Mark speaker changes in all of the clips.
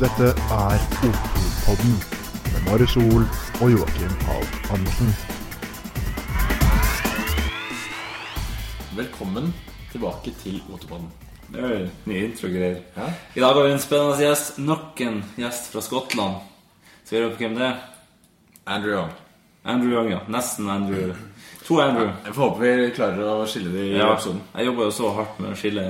Speaker 1: Dette er Otopodden med Marius Sol og Joakim Pahl Andersen.
Speaker 2: Velkommen tilbake til Motorbanen.
Speaker 3: Det var jo nye introgreier.
Speaker 2: Ja.
Speaker 3: I dag har vi en spennende gjest. Nok en gjest fra Skottland. Skal vi høre på hvem det er?
Speaker 2: Andrew Young.
Speaker 3: Andrew Young, ja. Nesten Andrew. To Andrew.
Speaker 2: Jeg får håpe vi klarer å skille de i
Speaker 3: Ja,
Speaker 2: episoden.
Speaker 3: jeg jobba jo så hardt med å skille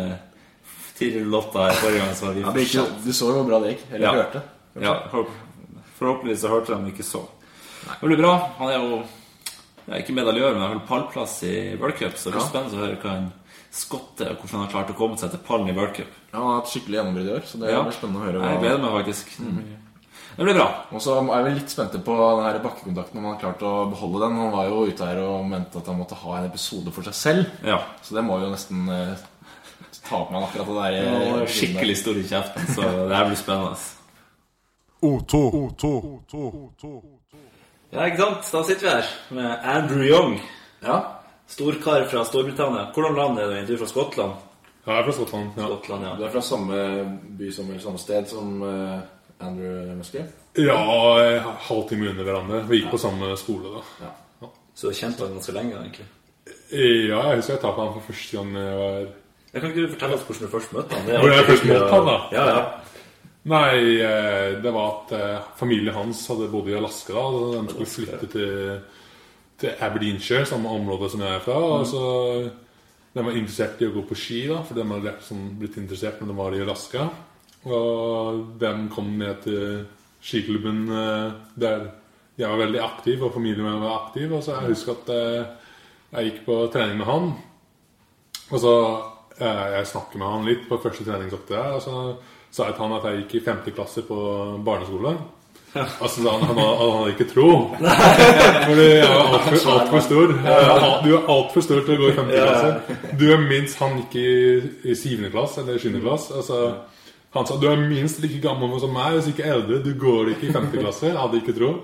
Speaker 3: Tiril Lotta her forrige gang. Så vi
Speaker 2: Ja, det gikk jo, du så jo hvor bra det gikk. Eller
Speaker 3: Ja.
Speaker 2: hørte.
Speaker 3: ja, håp- Forhåpentligvis så hørte de ikke så. Det blir bra. Han er jo jeg er ikke medaljør, men han har pallplass i World Cup. Så det blir
Speaker 2: Ja.
Speaker 3: spennende å høre hva en skotte og hvordan han har klart å komme seg til pallen i World Cup.
Speaker 2: Han har hatt skikkelig gjennombrudd i år, så det
Speaker 3: Ja.
Speaker 2: blir spennende å høre.
Speaker 3: Jeg
Speaker 2: Hva.
Speaker 3: gleder meg faktisk. Det blir bra.
Speaker 2: Og så er vi litt spente på den her bakkekontakten, om han har klart å beholde den. Han var jo ute her og mente at han måtte ha en episode for seg selv,
Speaker 3: Ja.
Speaker 2: så det må vi jo nesten eh, ta på meg akkurat det der.
Speaker 3: Jeg
Speaker 2: eh,
Speaker 3: er skikkelig stor i kjeften, så det her blir spennende.
Speaker 1: Oto.
Speaker 3: Ja, ikke sant? Da sitter vi her med Andrew Young.
Speaker 2: Ja.
Speaker 3: Storkar fra Storbritannia. Hvordan land er du egentlig? Du er fra Skottland?
Speaker 4: Ja, jeg er fra Skottland. Ja,
Speaker 3: Skottland,
Speaker 2: Du
Speaker 3: ja.
Speaker 2: er fra samme by som, eller samme sted som eh, Andrew Muskey?
Speaker 4: ja eh, halvtime under hverandre. Vi gikk på samme skole da.
Speaker 2: Ja.
Speaker 3: Så du har kjent ham ganske lenge, egentlig.
Speaker 4: Eh, Ja, jeg husker jeg traff han for første gang jeg var
Speaker 3: Jeg kan ikke du fortelle oss hvordan du først møtte han? Det er
Speaker 4: Hvordan jeg
Speaker 3: alltid
Speaker 4: først møtte han, da?
Speaker 3: gøy å- Ja, ja.
Speaker 4: Nei, eh, det var at eh, familien hans hadde bodd i Alaska da. og De skulle flytte til, til Aberdeenshire, samme område som jeg er fra. Og så De var interessert i å gå på ski, da, for de hadde vært sånn, blitt interessert når de var i Alaska. Og de kom ned til skiklubben eh, der jeg var veldig aktiv, og familien min var aktiv. Og så jeg husker at eh, jeg gikk på trening med han. Og så eh, Jeg snakker med han litt på første treningsøkt der. Og så sa jeg til han at jeg gikk i femte klasse på barneskole. Og så sa han at han, han hadde ikke tro. Fordi jeg var altfor alt for stor. Eh, al- Du er altfor stor til å gå i femte klasse. Du er minst Han gikk i, i syvende klasse eller sjuende klasse. Og så han sa du er minst like gammel som meg, hvis ikke eldre. Du går ikke i femte klasse. Jeg hadde ikke tro.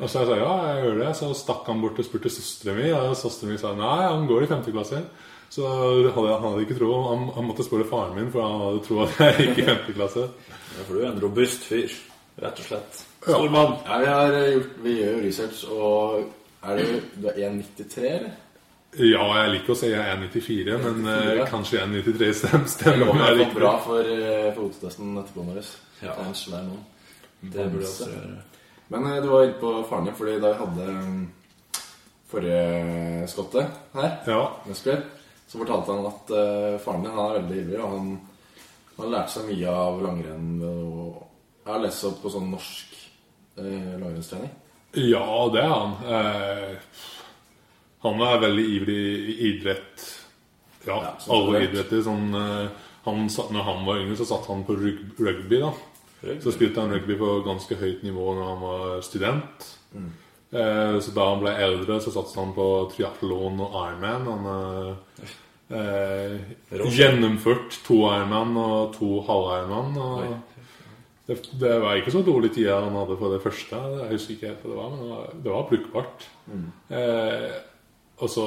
Speaker 4: Og så jeg sa ja, jeg gjør det. Så stakk han bort og spurte søstera mi, og søstera mi sa nei, han går i femte klasse. Så hadde, han hadde ikke tro. Han, han måtte spørre faren min, for han hadde tro at jeg gikk i femte klasse.
Speaker 3: Ja, For du er en robust fyr, rett og slett.
Speaker 4: Ja.
Speaker 3: Stor mann.
Speaker 2: Ja, vi, har eh, gjort, vi gjør jo research, og er det, du er 1,93, eller?
Speaker 4: Ja, jeg liker å si jeg er 1,94, men eh, kanskje 1,93 stemmer.
Speaker 2: Det
Speaker 4: stemmer om
Speaker 2: var
Speaker 4: jeg
Speaker 2: i hvert fall
Speaker 4: liker
Speaker 2: bra
Speaker 4: det.
Speaker 2: for, eh, for hotetesten etterpå, Marius.
Speaker 3: Ja.
Speaker 2: Det er en svær mann.
Speaker 3: Det burde jeg også gjøre.
Speaker 2: Men eh, du var inne på faren din, fordi da vi hadde mm, forrige skotte her,
Speaker 4: Ja.
Speaker 2: Nesbjørn, så fortalte han at eh, faren din han er veldig ivrig, og han, han lærte seg mye av langrenn. Og jeg har lest opp på sånn norsk eh, langrennstrening.
Speaker 4: ja, det er han. Eh, han er veldig ivrig i idrett. Ja,
Speaker 2: Ja, så
Speaker 4: alle
Speaker 2: korrekt.
Speaker 4: idretter. Sånn, eh, han satt, når han var yngre, så satt han på rug- rugby, da. Så spilte han rugby på ganske høyt nivå når han var student. Eh, så da han ble eldre, så satset han på triatlon og Ironman. Han eh, eh,
Speaker 3: Rått.
Speaker 4: gjennomført to Ironman og to halv-Ironman. og Det, det var ikke så dårlig tid han hadde på det første. Jeg husker ikke helt hva det var, men det var, det var brukbart. Eh, og så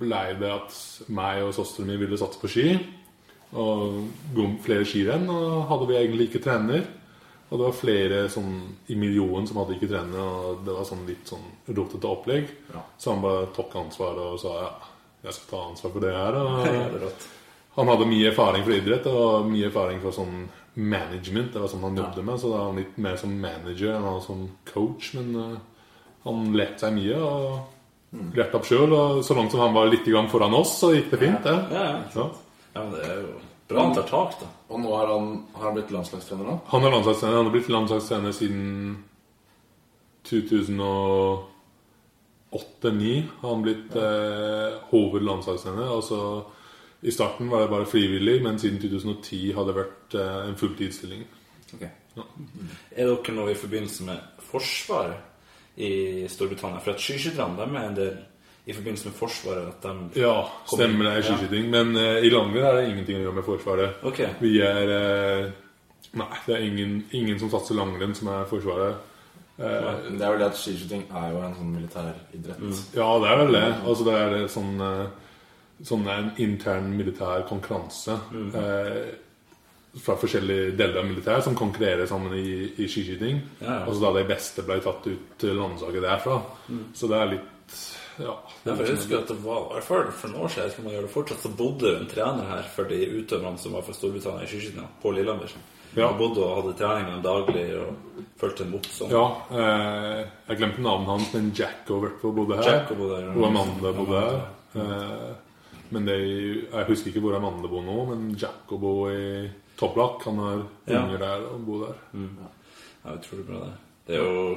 Speaker 4: ble det at meg og søsteren min ville satse på ski. Og gå flere skirenn. Og hadde vi egentlig ikke trener. Og det var flere sånn, i miljøen som hadde ikke trener. Og det var sånn litt sånn rotete opplegg.
Speaker 2: Ja.
Speaker 4: Så han bare tok ansvar og sa ja, jeg skal ta ansvar for det her.
Speaker 3: Ja, det
Speaker 4: Og
Speaker 3: er rått.
Speaker 4: han hadde mye erfaring fra idrett og mye erfaring fra sånn management. Det var sånn han jobbet med, så da var han litt mer som manager enn han var som coach. Men eh, han lærte seg mye
Speaker 3: Mm.
Speaker 4: og lærte opp sjøl. Og så langt som han var litt i gang foran oss, så gikk det fint. Det.
Speaker 3: Ja, ja.
Speaker 4: Ja.
Speaker 3: ja, men det er jo bra han tar tak, da.
Speaker 2: Og nå har han, har han blitt landslagstrener nå.
Speaker 4: Han er landslagstrener. Han har blitt landslagstrener siden 2008-2009. Har han blitt eh, hovedlandslagstrener. Altså, I starten var det bare frivillig, men siden 2010 har det vært eh, en fulltidsstilling.
Speaker 3: Er dere nå i forbindelse med Forsvaret i Storbritannia? For at skiskytterne de er en del i forbindelse med Forsvaret at de
Speaker 4: Ja, stemmer det. er Skiskyting. Men eh, i langrenn er det ingenting å gjøre med Forsvaret.
Speaker 3: Ok.
Speaker 4: Vi er eh, Nei, det er ingen, ingen som satser langrenn som er Forsvaret. Eh,
Speaker 2: Men Det er vel det at skiskyting er jo en sånn militær idrett.
Speaker 4: ja, det er vel det. Altså, det er eh, sånn
Speaker 3: Mm.
Speaker 4: eh, Sånn er en intern militær konkurranse. Eh, fra forskjellige deler av militæret som konkurrerer sammen i, i skiskyting.
Speaker 3: Ja, ja.
Speaker 4: Og så da de beste ble tatt ut til landslaget derfra. Så det er litt ja,
Speaker 3: Ja, for jeg husker at det var i hvert fall for noen år siden, jeg vet ikke om han gjør det fortsatt, så bodde en trener her for de utøverne som var fra Storbritannia i skiskytinga, på Lillehammer.
Speaker 4: Ja.
Speaker 3: Han bodde og hadde treninger daglig og fulgte dem opp sånn.
Speaker 4: Ja, eh, jeg glemte navnet hans, men Jack og Verpo bodde her.
Speaker 3: Jack og bodde her, ja.
Speaker 4: Og Amanda bodde her.
Speaker 3: Amanda,
Speaker 4: Eh, men de, jeg husker ikke hvor Amanda bor nå, men Jack og bor i Toblak. Han har
Speaker 3: Ja.
Speaker 4: unger der og bor der.
Speaker 3: Ja, utrolig bra, det. Det er jo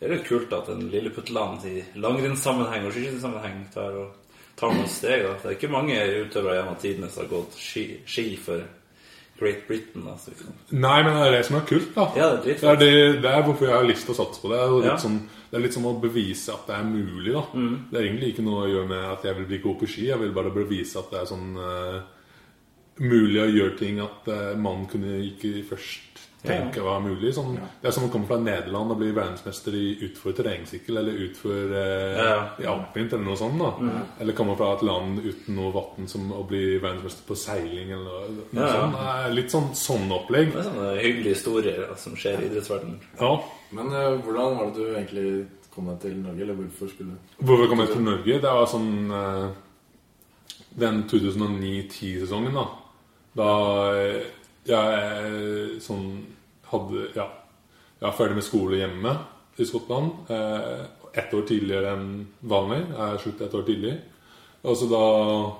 Speaker 3: det er litt kult at en Lilleputtland i langrennssammenheng og skiskytingsammenheng tar, og- tar noen steg. Da. Det er ikke mange utøvere gjennom tidene som har gått ski, ski for Great Britain. Da, så vi kan-
Speaker 4: Nei, men det er det som er kult, da.
Speaker 3: Ja, det er dritfett.
Speaker 4: det, er det, det er hvorfor jeg har lyst til å satse på det. Det er, jo litt
Speaker 3: Ja. Mm.
Speaker 4: sånn, det er litt som å bevise at det er mulig, da. Det er egentlig ikke noe å gjøre med at jeg vil bli god på ski. Jeg vil bare bevise at det er sånn eh, mulig å gjøre ting at eh, man kunne ikke først tenke var mulig. Sånn, Det er som å komme fra Nederland og bli verdensmester i utfor terrengsykkel eller utfor eh,
Speaker 3: Ja, Mm. ja.
Speaker 4: i alpint eller noe sånt. da Eller komme fra et land uten noe vann som å bli verdensmester på seiling eller noe, noe
Speaker 3: Ja, ja.
Speaker 4: sånt. Det er litt sånn sånn opplegg.
Speaker 3: Det er sånne hyggelige historier da, som skjer i idrettsverdenen.
Speaker 4: Ja
Speaker 2: Men eh, hvordan var det du egentlig kom deg til Norge, eller hvorfor skulle du?
Speaker 4: Hvorfor kom jeg til Norge? Det var sånn eh, Den 2009-10-sesongen, da. Da eh, jeg eh, sånn hadde Ja. Jeg var ferdig med skole hjemme i Skottland. Eh, ett år tidligere enn vanlig. Jeg er slutt ett år tidlig. Og så da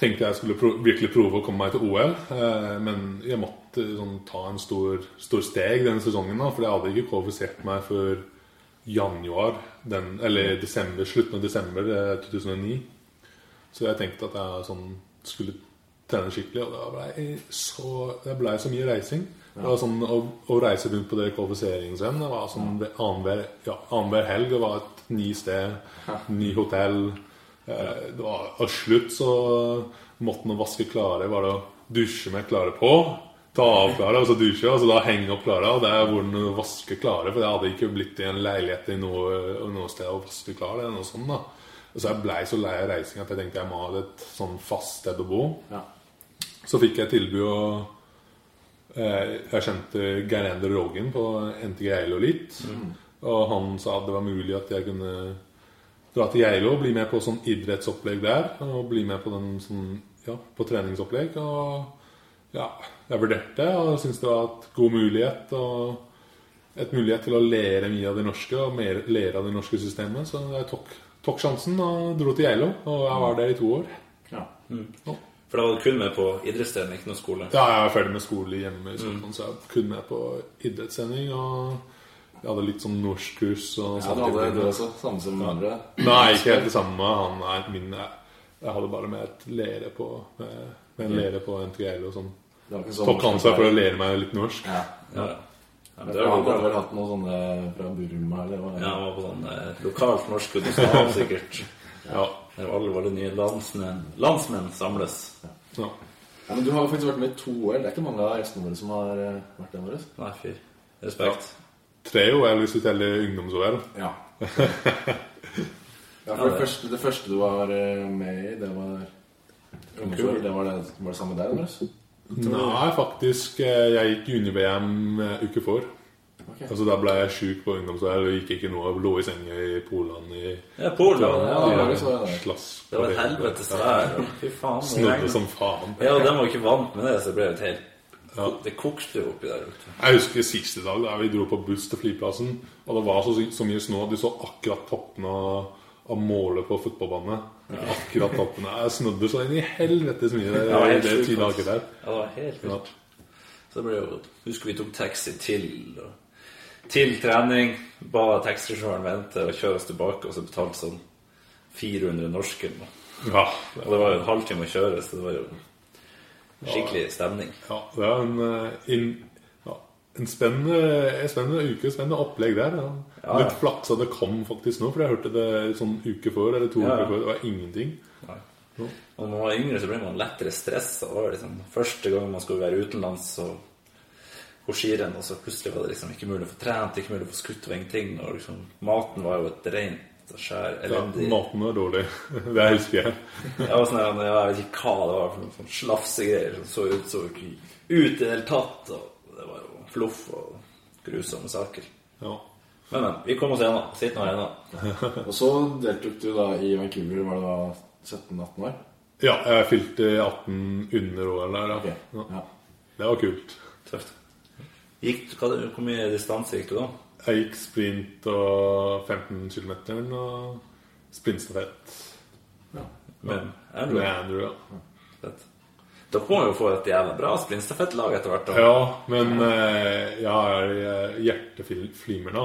Speaker 4: tenkte jeg skulle pro virkelig prøve å komme meg til OL. Eh, men jeg måtte sånn, ta en stor, stor steg den sesongen, da, for jeg hadde ikke kvalifisert meg for januar, den, eller desember, slutten av desember eh, 2009. Så jeg tenkte at jeg sånn, skulle trene skikkelig, og det ble så, det ble så mye reising. Det var sånn, å, å reise rundt på det kvalifiseringsrennet det var sånn ved annenhver ja, annenhver helg. Det var et ny sted, ny hotell. Eh, det var, og slutt så måtte man vaske klare, var det å dusje med klare på. Ta av klare, og så dusje, og så da henge opp klare. Og det er hvordan du vasker klare, for jeg hadde ikke blitt i en leilighet i noe, noe sted å vaske klare. eller noe sånt da. Og så jeg blei så lei av reising at jeg tenkte jeg må ha et sånn fast sted å bo.
Speaker 2: Ja.
Speaker 4: Så fikk jeg tilbud å eh, Jeg kjente Geir Ender Rogen på NTG Geilo litt. Og han sa at det var mulig at jeg kunne dra til Geilo og bli med på sånn idrettsopplegg der. Og bli med på, den, sånn, ja, på treningsopplegg. Og ja, jeg vurderte og syntes det var et god mulighet. og et mulighet til å lære mye av det norske og mer, lære av det norske systemet. Så jeg tok, tok sjansen og dro til Geilo. Og jeg var der i to år.
Speaker 2: Ja.
Speaker 3: For da var du kun med på idrettsdelen, ikke noe skole.
Speaker 4: Ja, jeg var ferdig med skole hjemme, i
Speaker 2: Mm.
Speaker 4: Skottland, så jeg var kun med på idrettssending. Og jeg hadde litt sånn norskkurs. Og
Speaker 2: Ja,
Speaker 4: sånne
Speaker 2: du hadde
Speaker 4: ting.
Speaker 2: du også, samme som andre.
Speaker 4: Nei, ikke helt det samme. Han er min jeg, jeg hadde bare med et lære på med, med
Speaker 2: Mm.
Speaker 4: en lære på NTGL og sånn.
Speaker 2: Det var ikke sånn
Speaker 4: Tok ansvar for å lære meg litt norsk.
Speaker 2: Ja.
Speaker 3: Ja, ja. Ja, men
Speaker 2: Han
Speaker 3: det var jo
Speaker 2: hadde
Speaker 3: bra.
Speaker 2: vel hatt noen sånne fra Burma eller hva?
Speaker 3: Ja, han var på sånn eh, lokalt norsk Gustav, sikkert.
Speaker 4: Ja.
Speaker 3: Der alle våre nye landsmenn, landsmenn samles.
Speaker 4: ja.
Speaker 2: Ja, men du har jo faktisk vært med i to OL. Det er ikke mange av gjestene våre som har eh, vært der. Våre.
Speaker 3: Nei, fy. Respekt.
Speaker 4: Tre OL hvis du teller ungdoms-OL.
Speaker 2: Ja. for det, første, det første du var eh, med i, det var ungdomsår. Det var det, var det samme der, Andres?
Speaker 4: Nei, faktisk. eh, Jeg gikk junior-VM eh, uke for.
Speaker 2: Ok.
Speaker 4: Altså, da ble jeg sjuk på ungdoms-OL og gikk ikke noe. Lå i senga i Poland i
Speaker 3: Ja, Polen.
Speaker 2: Ja,
Speaker 3: Ja,
Speaker 2: det var det som var der.
Speaker 4: slask.
Speaker 3: det var et helvetes vær. og Fy faen. det
Speaker 4: Snødde
Speaker 3: regnet.
Speaker 4: som faen.
Speaker 3: Ja, og de var ikke vant med det, så det ble jo et helt
Speaker 4: Ja.
Speaker 3: Det kokte jo oppi der. vet du.
Speaker 4: Jeg husker siste dag da vi dro på buss til flyplassen, og det var så, så mye snø at du så akkurat toppene av, av målet på fotballbanen. Akkurat toppene. Jeg snødde så inn i helvetes mye
Speaker 3: Ja,
Speaker 4: i
Speaker 3: helt
Speaker 4: de ti
Speaker 3: sjukt, altså.
Speaker 4: dager der.
Speaker 3: Ja, det var helt
Speaker 4: Ja.
Speaker 3: vilt. Så det ble jo Husker vi tok taxi til og, til trening. Ba taxisjåføren vente og kjøre oss tilbake, og så betalte sånn 400 norske. eller noe.
Speaker 4: Ja,
Speaker 3: Og det var jo en halvtime å kjøre, så det var jo skikkelig stemning.
Speaker 4: ja, det er en, eh, inn- ja, en spennende, en spennende uke, spennende opplegg der. Ja.
Speaker 3: Ja, ja.
Speaker 4: Litt flaks at det kom faktisk nå, for jeg hørte det sånn uke før eller to
Speaker 3: Ja, ja.
Speaker 4: uker før. Det var ingenting.
Speaker 3: Og når man var yngre, så ble man lettere stressa. Det var liksom første gang man skulle være utenlands og på skirenn, og så plutselig var det liksom ikke mulig å få trent, ikke mulig å få skutt, det var ingenting. Og liksom, maten var jo et rent Dette skjær
Speaker 4: Ja,
Speaker 3: elendig.
Speaker 4: maten var dårlig. Det husker jeg.
Speaker 3: Jeg var sånn her, jeg vet ikke hva det var for noen sånn slafsegreier som så ut så ikke ut i det hele tatt. Og det var jo fluff og grusomme saker.
Speaker 4: Ja.
Speaker 3: Men, men. Vi kom oss gjennom. Sitt nå igjennom.
Speaker 2: Og så deltok du da i Vancouver, var det da 17-18 år?
Speaker 4: ja, jeg fylte 18 under året der.
Speaker 2: Ok,
Speaker 4: Ja. Ja.
Speaker 2: ja.
Speaker 4: Det var kult.
Speaker 3: Tøft. Gikk, du- hva, hvor mye distanse gikk du da?
Speaker 4: Jeg gikk sprint og 15 km og sprintstafett
Speaker 3: Med Andrew?
Speaker 4: med Andrew. Ja,
Speaker 3: Fett. Dere må jo få et jævla bra sprintstafettlag etter hvert. da.
Speaker 4: ja men eh, jeg er hjerteflimmer nå.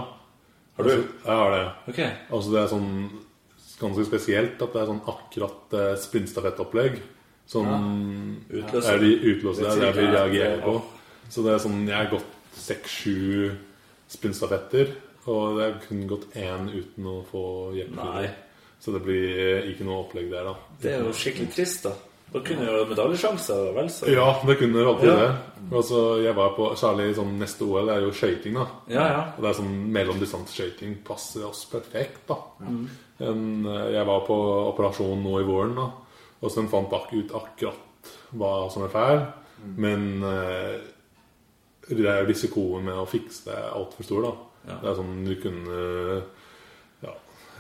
Speaker 3: Har du?
Speaker 4: Altså, jeg har det.
Speaker 3: Ok.
Speaker 4: Altså Det er sånn ganske spesielt at det er sånn akkurat eh, sprintstafettopplegg som er
Speaker 3: Utløser.
Speaker 4: de utløste der, det er de reagerer på. Så det er sånn Jeg har gått seks-sju sprintstafetter, og det er kun gått én uten å få
Speaker 3: Nei.
Speaker 4: hjelpeflimmer. Så det blir eh, ikke noe opplegg der, da.
Speaker 3: Det er jo skikkelig trist, da. Da kunne jo medaljesjanser vel så
Speaker 4: Ja, det kunne vært alltid
Speaker 3: Ja.
Speaker 4: det. Altså, jeg var på, Særlig sånn neste OL er jo skøyting, da.
Speaker 3: ja. ja.
Speaker 4: Og det er sånn mellomdistanseskøyting passer oss perfekt, da.
Speaker 3: Mm.
Speaker 4: En, eh, jeg var på operasjon nå i våren, da, og så fant ak ut akkurat hva som er feil.
Speaker 3: Mm.
Speaker 4: Men eh, det er jo risikoen med å fikse det er altfor stor, da.
Speaker 3: Ja.
Speaker 4: Det er sånn du kunne ja,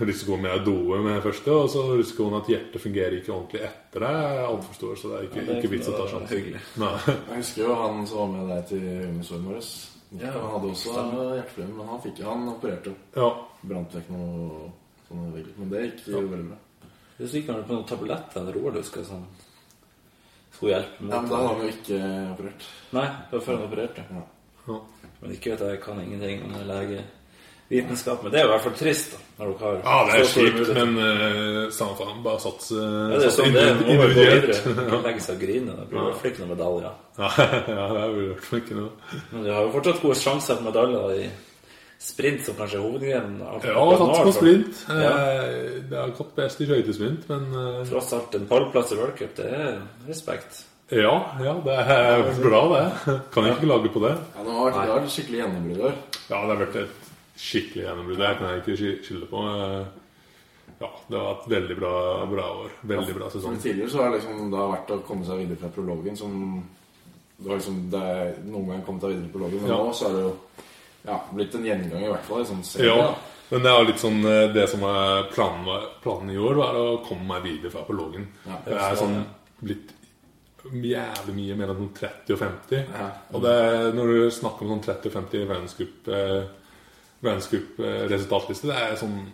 Speaker 4: Risikoen med å doe med det første, og så risikoen at hjertet fungerer ikke ordentlig etter det, er altfor stor. Så det er ikke,
Speaker 3: Ja, det er
Speaker 4: ikke vits å ta
Speaker 3: ikke noe
Speaker 4: sjansen.
Speaker 3: hyggelig.
Speaker 4: Nei.
Speaker 2: Jeg husker jo han som var med deg til ungdomsåret vårt.
Speaker 3: Ja,
Speaker 2: han hadde også
Speaker 3: stemmer.
Speaker 2: hjerteflimmer, men han fikk han opererte jo.
Speaker 4: Ja.
Speaker 2: Brant vekk noe sånne vegger. sånn Men det gikk jo veldig bra.
Speaker 3: Hvis du ikke har på noen tabletter eller roer du skal sånn Skulle hjelpe mot
Speaker 2: Ja, men da
Speaker 3: det.
Speaker 2: har vi jo ikke operert.
Speaker 3: Nei, det var før han opererte.
Speaker 2: Ja.
Speaker 4: ja.
Speaker 3: Men ikke vet jeg, jeg kan ingenting om legevitenskap. Men det er jo i hvert fall trist, da. Når dere har
Speaker 4: Ja, det er
Speaker 3: så store
Speaker 4: kjipt,
Speaker 3: muligheter.
Speaker 4: men eh, samme faen. Bare sats eh,
Speaker 3: Ja, det er sånn det er. Nå må vi gå videre.
Speaker 4: individuelt.
Speaker 3: Ikke legge seg og grine. Det blir i hvert fall ikke noen medaljer.
Speaker 4: Ja, ja, det er vel i hvert fall ikke noe.
Speaker 3: Men du har jo fortsatt gode sjanser på medaljer da, i sprint, som kanskje er hovedgrenen. av-
Speaker 4: Ja, sats på
Speaker 3: Nå,
Speaker 4: sprint. Eh,
Speaker 3: Ja.
Speaker 4: Det har gått best i skøytesprint, men eh,
Speaker 3: Tross alt en pallplass i World Cup, det er respekt.
Speaker 4: ja, ja, det er bra, det. Kan ikke klage på det.
Speaker 2: Ja, det var, det var et skikkelig gjennombrudd i år.
Speaker 4: Ja, det har vært et skikkelig gjennombrudd. Det kan jeg ikke sky- skylde på. Eh, Ja, det var et veldig bra, bra år. Veldig bra
Speaker 2: Men
Speaker 4: sesong.
Speaker 2: tidligere så har det liksom da vært å komme seg videre fra prologen som det var liksom, det er, Noen ganger kommet deg videre i prologen, men
Speaker 4: Ja.
Speaker 2: nå så er det jo ja, blitt en gjengang i hvert fall. i sånn serie,
Speaker 4: Ja,
Speaker 2: da.
Speaker 4: men det er litt sånn eh, Det som er planen, var- planen i år, var å komme meg videre fra prologen.
Speaker 2: Ja,
Speaker 4: det er
Speaker 3: sånn,
Speaker 4: sånn blitt jævlig mye mellom sånn 30 og 50.
Speaker 2: Ja.
Speaker 4: Og det, er- når du snakker om sånn 30 og 50 i verdenscup, eh, verdenscup eh, resultatliste, det er sånn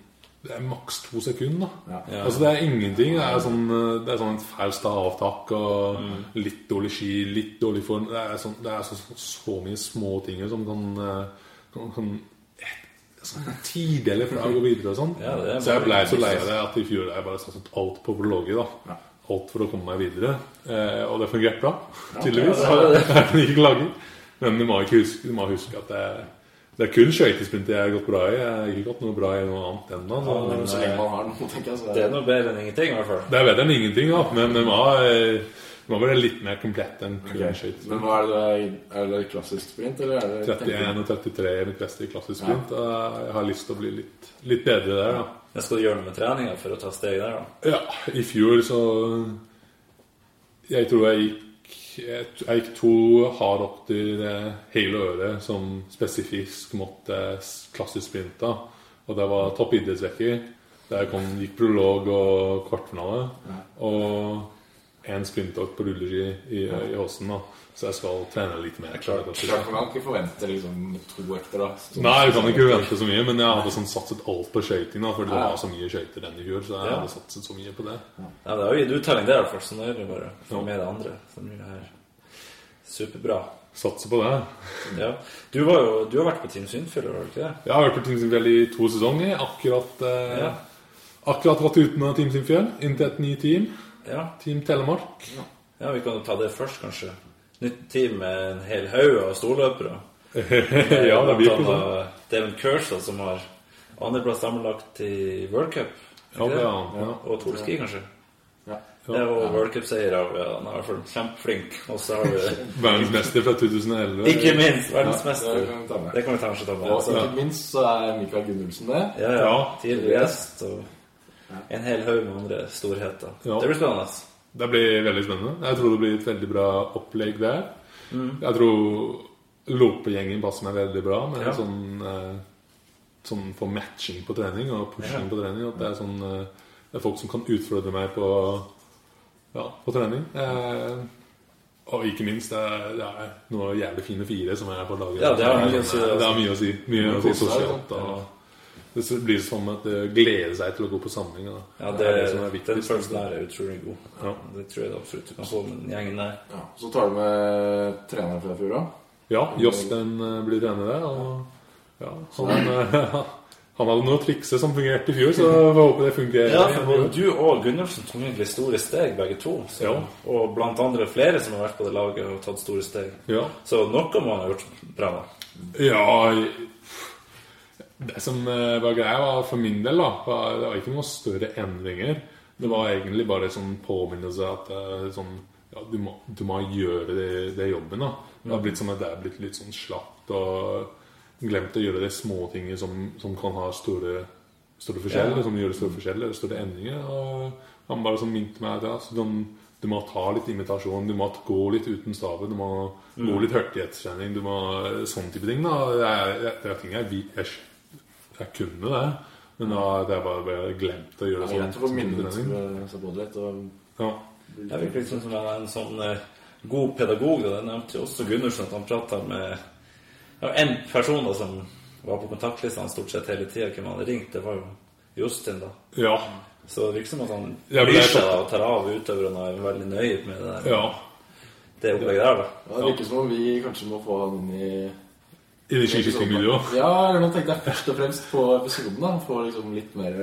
Speaker 4: det er maks to sekunder, da.
Speaker 2: Ja.
Speaker 4: Altså, det er ingenting. Det er sånn, eh, det er sånn et faust avtak og
Speaker 3: Mm.
Speaker 4: litt dårlig ski, litt dårlig form Det er, sånn, det er så, så, så mye små ting som kan, eh, kan, kan et- sånn Tideler fra å gå videre og sånn.
Speaker 3: Ja, det er
Speaker 4: så
Speaker 3: bare-
Speaker 4: jeg blei så lei av det at i fjor jeg bare satset alt på prologet. da
Speaker 2: Ja.
Speaker 4: Alt for å komme meg videre. Eh, og det fungerte bra, tydeligvis.
Speaker 3: ja, det er det.
Speaker 4: Jeg kan ikke klage. Men du må, ikke huske, du må huske at det, det er kun skøytesprinter jeg har gått bra i. Jeg har ikke gått noe bra i noe annet ennå. så-
Speaker 2: Men Så lenge man har noe, tenker jeg. Så
Speaker 3: Det er noe bedre enn ingenting, i hvert fall.
Speaker 4: det er bedre enn ingenting, da. Men det var, eh, det var bare litt mer komplett enn kun
Speaker 2: Ok,
Speaker 4: skøytesprint.
Speaker 2: Men hva er det, er det klassisk sprint, eller er det
Speaker 4: 31 og 33 er mitt beste i klassisk sprint. og Jeg har lyst til å bli litt, litt bedre der, da.
Speaker 3: Men skal du gjøre noe med treninga for å ta steg der, da?
Speaker 4: Ja, i fjor så Jeg tror jeg gikk jeg, jeg gikk to hard opp til det hele øret som spesifikt måtte s- klassisk sprinta. Og det var topp idrettsvekker. Der kom, gikk prolog og kvartfinale. Og én sprintøkt på rulleski i, i Åsen, da. Så jeg skal trene litt mer.
Speaker 2: Klart man kan ikke forvente liksom to økter, da. Så-
Speaker 4: Nei, jeg kan ikke vente så mye, men jeg hadde sånn satset alt på skøyting, da, for det
Speaker 2: Ja.
Speaker 4: var så mye skøyter den i fjor. Så jeg
Speaker 3: Ja.
Speaker 4: hadde satset så mye på det.
Speaker 3: Ja, det har jo gitt uttelling der, i hvert fall. Så nå er det bare å få med det andre. Så blir det her superbra.
Speaker 4: Satser på det.
Speaker 3: Ja. Du, var jo, du har vært på Team Synfjell, har du ikke det?
Speaker 4: Jeg har hørt på Team Simfjell i to sesonger. Akkurat eh,
Speaker 3: Ja.
Speaker 4: Akkurat gått uten av Team Simfjell. Inn til et nytt team.
Speaker 3: Ja.
Speaker 4: Team Telemark.
Speaker 3: ja, vi kan jo ta det først, kanskje. Nytt team med en hel haug av storløpere.
Speaker 4: ja, det blir ikke sånn.
Speaker 3: sånn. Devin Kershaw, som har andreplass sammenlagt i World Cup.
Speaker 4: Ja,
Speaker 3: ikke
Speaker 4: det
Speaker 3: det?
Speaker 4: er han, ja.
Speaker 3: Og Torski, kanskje.
Speaker 2: Ja.
Speaker 3: Det er jo World Cup-seier av ja, Han er i hvert fall kjempeflink. Og så har vi
Speaker 4: Verdensmester fra 2011.
Speaker 3: ikke minst
Speaker 2: Ja,
Speaker 3: verdensmester.
Speaker 2: det kan vi ta med.
Speaker 3: Det kan vi kanskje ta med.
Speaker 2: Og så ikke minst så er Mikael Gunnulfsen med.
Speaker 3: Ja, ja.
Speaker 4: Ja.
Speaker 3: Tidligere gjest og en hel haug med andre storheter.
Speaker 4: Ja.
Speaker 3: Det blir spennende.
Speaker 4: Det blir veldig spennende. Jeg tror det blir et veldig bra opplegg der.
Speaker 3: Mm.
Speaker 4: Jeg tror lopegjengen passer meg veldig bra. Med
Speaker 3: Ja.
Speaker 4: sånn, eh, sånn for matching på trening og pushing
Speaker 3: Ja.
Speaker 4: på trening. At det er sånn eh, Det er folk som kan utfordre meg på, ja, på trening. Eh, og ikke minst, det er, det er noen jævlig fine fire som er på laget.
Speaker 3: Ja, det har mye å si, det, altså.
Speaker 4: Det har mye å si. Mye å si
Speaker 2: Kose seg,
Speaker 4: sosialt.
Speaker 2: da.
Speaker 4: Og det blir som at det gleder seg til å gå på samling. da.
Speaker 3: Ja, det,
Speaker 4: det er det som er
Speaker 3: den
Speaker 4: viktigst.
Speaker 3: følelsen der er utrolig god.
Speaker 4: Ja.
Speaker 3: Det tror jeg det absolutt du kan få med den gjengen der.
Speaker 2: Ja, så tar du med treneren fra i fjor, da.
Speaker 4: Ja, Jostein eh, blir trener der. Og ja, han, eh, han hadde noen trikser som fungerte i fjor, så jeg håper det fungerer.
Speaker 3: Ja, for både du og Gunnarsen tok egentlig store steg, begge to. Så,
Speaker 4: Ja.
Speaker 3: Og blant andre flere som har vært på det laget og tatt store steg.
Speaker 4: Ja.
Speaker 3: Så noe må han ha gjort bra.
Speaker 4: Ja, Det som eh, var greia, var for min del da, var, Det var ikke noen større endringer. Det var egentlig bare sånn påminnelse at eh, sånn, ja, du, må, du må gjøre det, det jobben. da. Det har blitt sånn at det er blitt litt sånn slapt og glemt å gjøre de småtingene som, som kan ha store, store forskjeller.
Speaker 3: Ja.
Speaker 4: Som gjør store forskjeller, store endringer. Og han bare sånn minte meg at ja, så du, du må ta litt imitasjon, du må gå litt uten staven, du må gå litt hurtighetstrening, du må sånn type ting. da. Det er, det er ting jeg, vi- jeg jeg kunne det, men da hadde jeg bare, bare glemt å
Speaker 2: Det
Speaker 4: gjøre
Speaker 2: er greit å få
Speaker 4: sånn
Speaker 2: minnet eh,
Speaker 4: trening.
Speaker 2: seg på det litt. Og
Speaker 4: Ja.
Speaker 3: Jeg virker liksom som han er en sånn eh, god pedagog. Da. Det nevnte jo også Gunnarsen at han prata med ja, en person da, som var på kontaktlistene stort sett hele tida. Hvem han hadde ringt, det var jo Justin, da.
Speaker 4: ja.
Speaker 3: Så det virker som at han
Speaker 4: Ja, men det
Speaker 3: bryr
Speaker 4: er
Speaker 3: seg
Speaker 4: så-
Speaker 3: da, og tar av utøverne og er veldig nøye med det, der,
Speaker 4: ja.
Speaker 3: det opplegget der. da.
Speaker 2: ja, det virker som om vi kanskje må få han inn i
Speaker 4: I det skiskytingmiljøet òg.
Speaker 2: Ja, eller nå tenkte jeg først og fremst på episoden. da Få liksom litt mer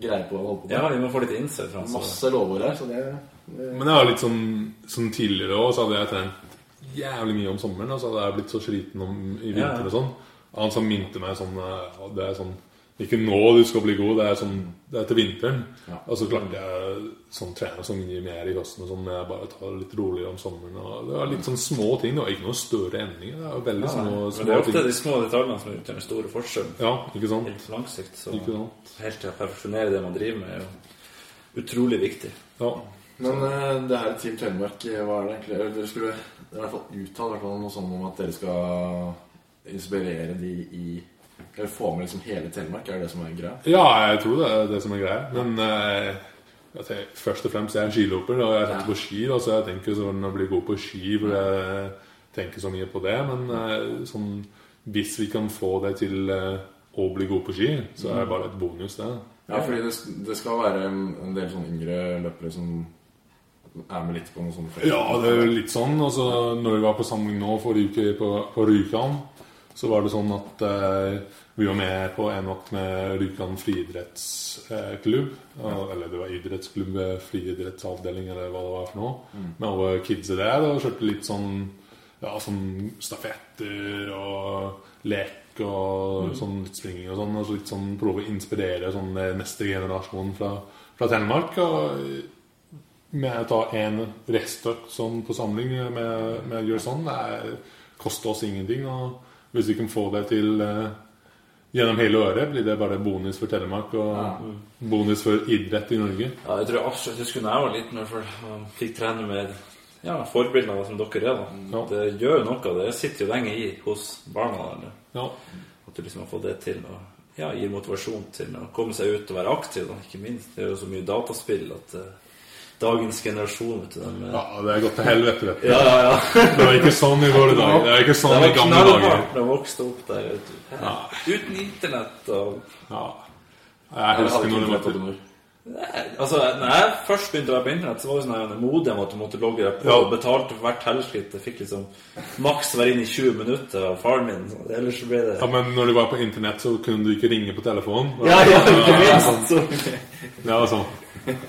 Speaker 2: greie på hva han holder på med.
Speaker 3: Ja, vi må få litt innsett fra han. så-
Speaker 2: Masse lovord her, så det, det
Speaker 4: Men jeg var litt sånn som tidligere òg, så hadde jeg trent jævlig mye om sommeren. Og så hadde jeg blitt så sliten om, i
Speaker 3: Ja, ja.
Speaker 4: vinter og sånn. Han som minte meg sånn eh, Det er sånn Ikke nå du skal bli god, det er sånn Det er til vinteren.
Speaker 2: Ja.
Speaker 4: Og så klarte jeg sånn trene så mye mer i høsten og sånn. men Jeg bare tar det litt rolig om sommeren. Og det var litt sånn små ting. Det var ikke noen større endringer. Det var veldig små,
Speaker 3: Men det
Speaker 4: små
Speaker 3: er ofte
Speaker 4: ting.
Speaker 3: de små detaljene som utgjør den store forskjellen.
Speaker 4: Ja, ikke sant?
Speaker 3: Helt på lang sikt. Så
Speaker 4: Ikke sant?
Speaker 3: helt til å perfeksjonere det man driver med, er jo utrolig viktig.
Speaker 4: Ja.
Speaker 2: Men eh, det her Team Telemark, eh, hva er det egentlig? Eller Dere skulle det er i hvert fall uttale i hvert fall noe sånn om at dere skal inspirere de i Eller få med liksom hele Telemark, er det det som er greia?
Speaker 4: ja, jeg tror det er det som er greia. Men eh, jeg tenker, først og fremst jeg er en skiloper, og jeg tenker på ski. Da, så jeg tenker sånn å bli god på ski, for jeg tenker så mye på det. Men eh, sånn, hvis vi kan få det til eh, å bli god på ski, så er det bare et bonus, det.
Speaker 2: Ja, fordi det, det skal være en del sånn yngre løpere som er med litt på noe sånt.
Speaker 4: Ja, det er jo litt sånn. Altså, når vi var på samling nå forrige uke på, på Rjukan, så var det sånn at eh, vi var med på en vakt med Rjukan friidrettsklubb. og- Eller det var idrettsklubb, eh, friidrettsavdeling eller hva det var for noe. Med alle kidsa der og kjørte litt sånn ja, sånn stafetter og lek og sånn litt springing og sånn. Og så litt sånn prøve å inspirere sånn eh, neste generasjon fra, fra Telemark. og med å ta en restøkt sånn på samling med, med å gjøre sånn, det er, koster oss ingenting. Og hvis vi kan få det til eh, gjennom hele året, blir det bare bonus for Telemark og bonus for idrett i Norge.
Speaker 3: Ja, jeg tror jeg absolutt husker da jeg var liten, i hvert fall. og Fikk trene med ja, forbildene som dere er, da.
Speaker 4: Ja.
Speaker 3: Det gjør jo noe. Det sitter jo lenge i hos barna. Eller.
Speaker 4: Ja,
Speaker 3: At du liksom har fått det til. Og ja, gir motivasjon til å komme seg ut og være aktiv, da, ikke minst. Det er jo så mye dataspill at eh, dagens generasjon, vet du dem eh,
Speaker 4: ja det er gått til helvete. vet du.
Speaker 3: ja, ja. ja.
Speaker 4: Det var ikke sånn i våre dager. Det er ikke
Speaker 3: Det
Speaker 4: sånn i
Speaker 3: var
Speaker 4: gamle dager.
Speaker 3: knallhardt da jeg vokste opp der. Vet du. Uten internett og
Speaker 4: Ja. Jeg
Speaker 2: Jeg hadde
Speaker 4: husker
Speaker 2: ikke
Speaker 4: når det
Speaker 2: noe
Speaker 4: var
Speaker 2: på
Speaker 4: til
Speaker 2: det nord.
Speaker 3: Altså, når jeg først begynte å være på internett, så var det sånn her modem at du måtte logge deg på.
Speaker 4: Ja.
Speaker 3: og Betalte for hvert tellerskritt. Jeg fikk liksom maks være inne i 20 minutter av faren min. så Ellers så ble det
Speaker 4: ja, men når du var på internett, så kunne du ikke ringe på telefonen.
Speaker 3: Ja, ja, ikke minst! Så.
Speaker 4: Det var sånn.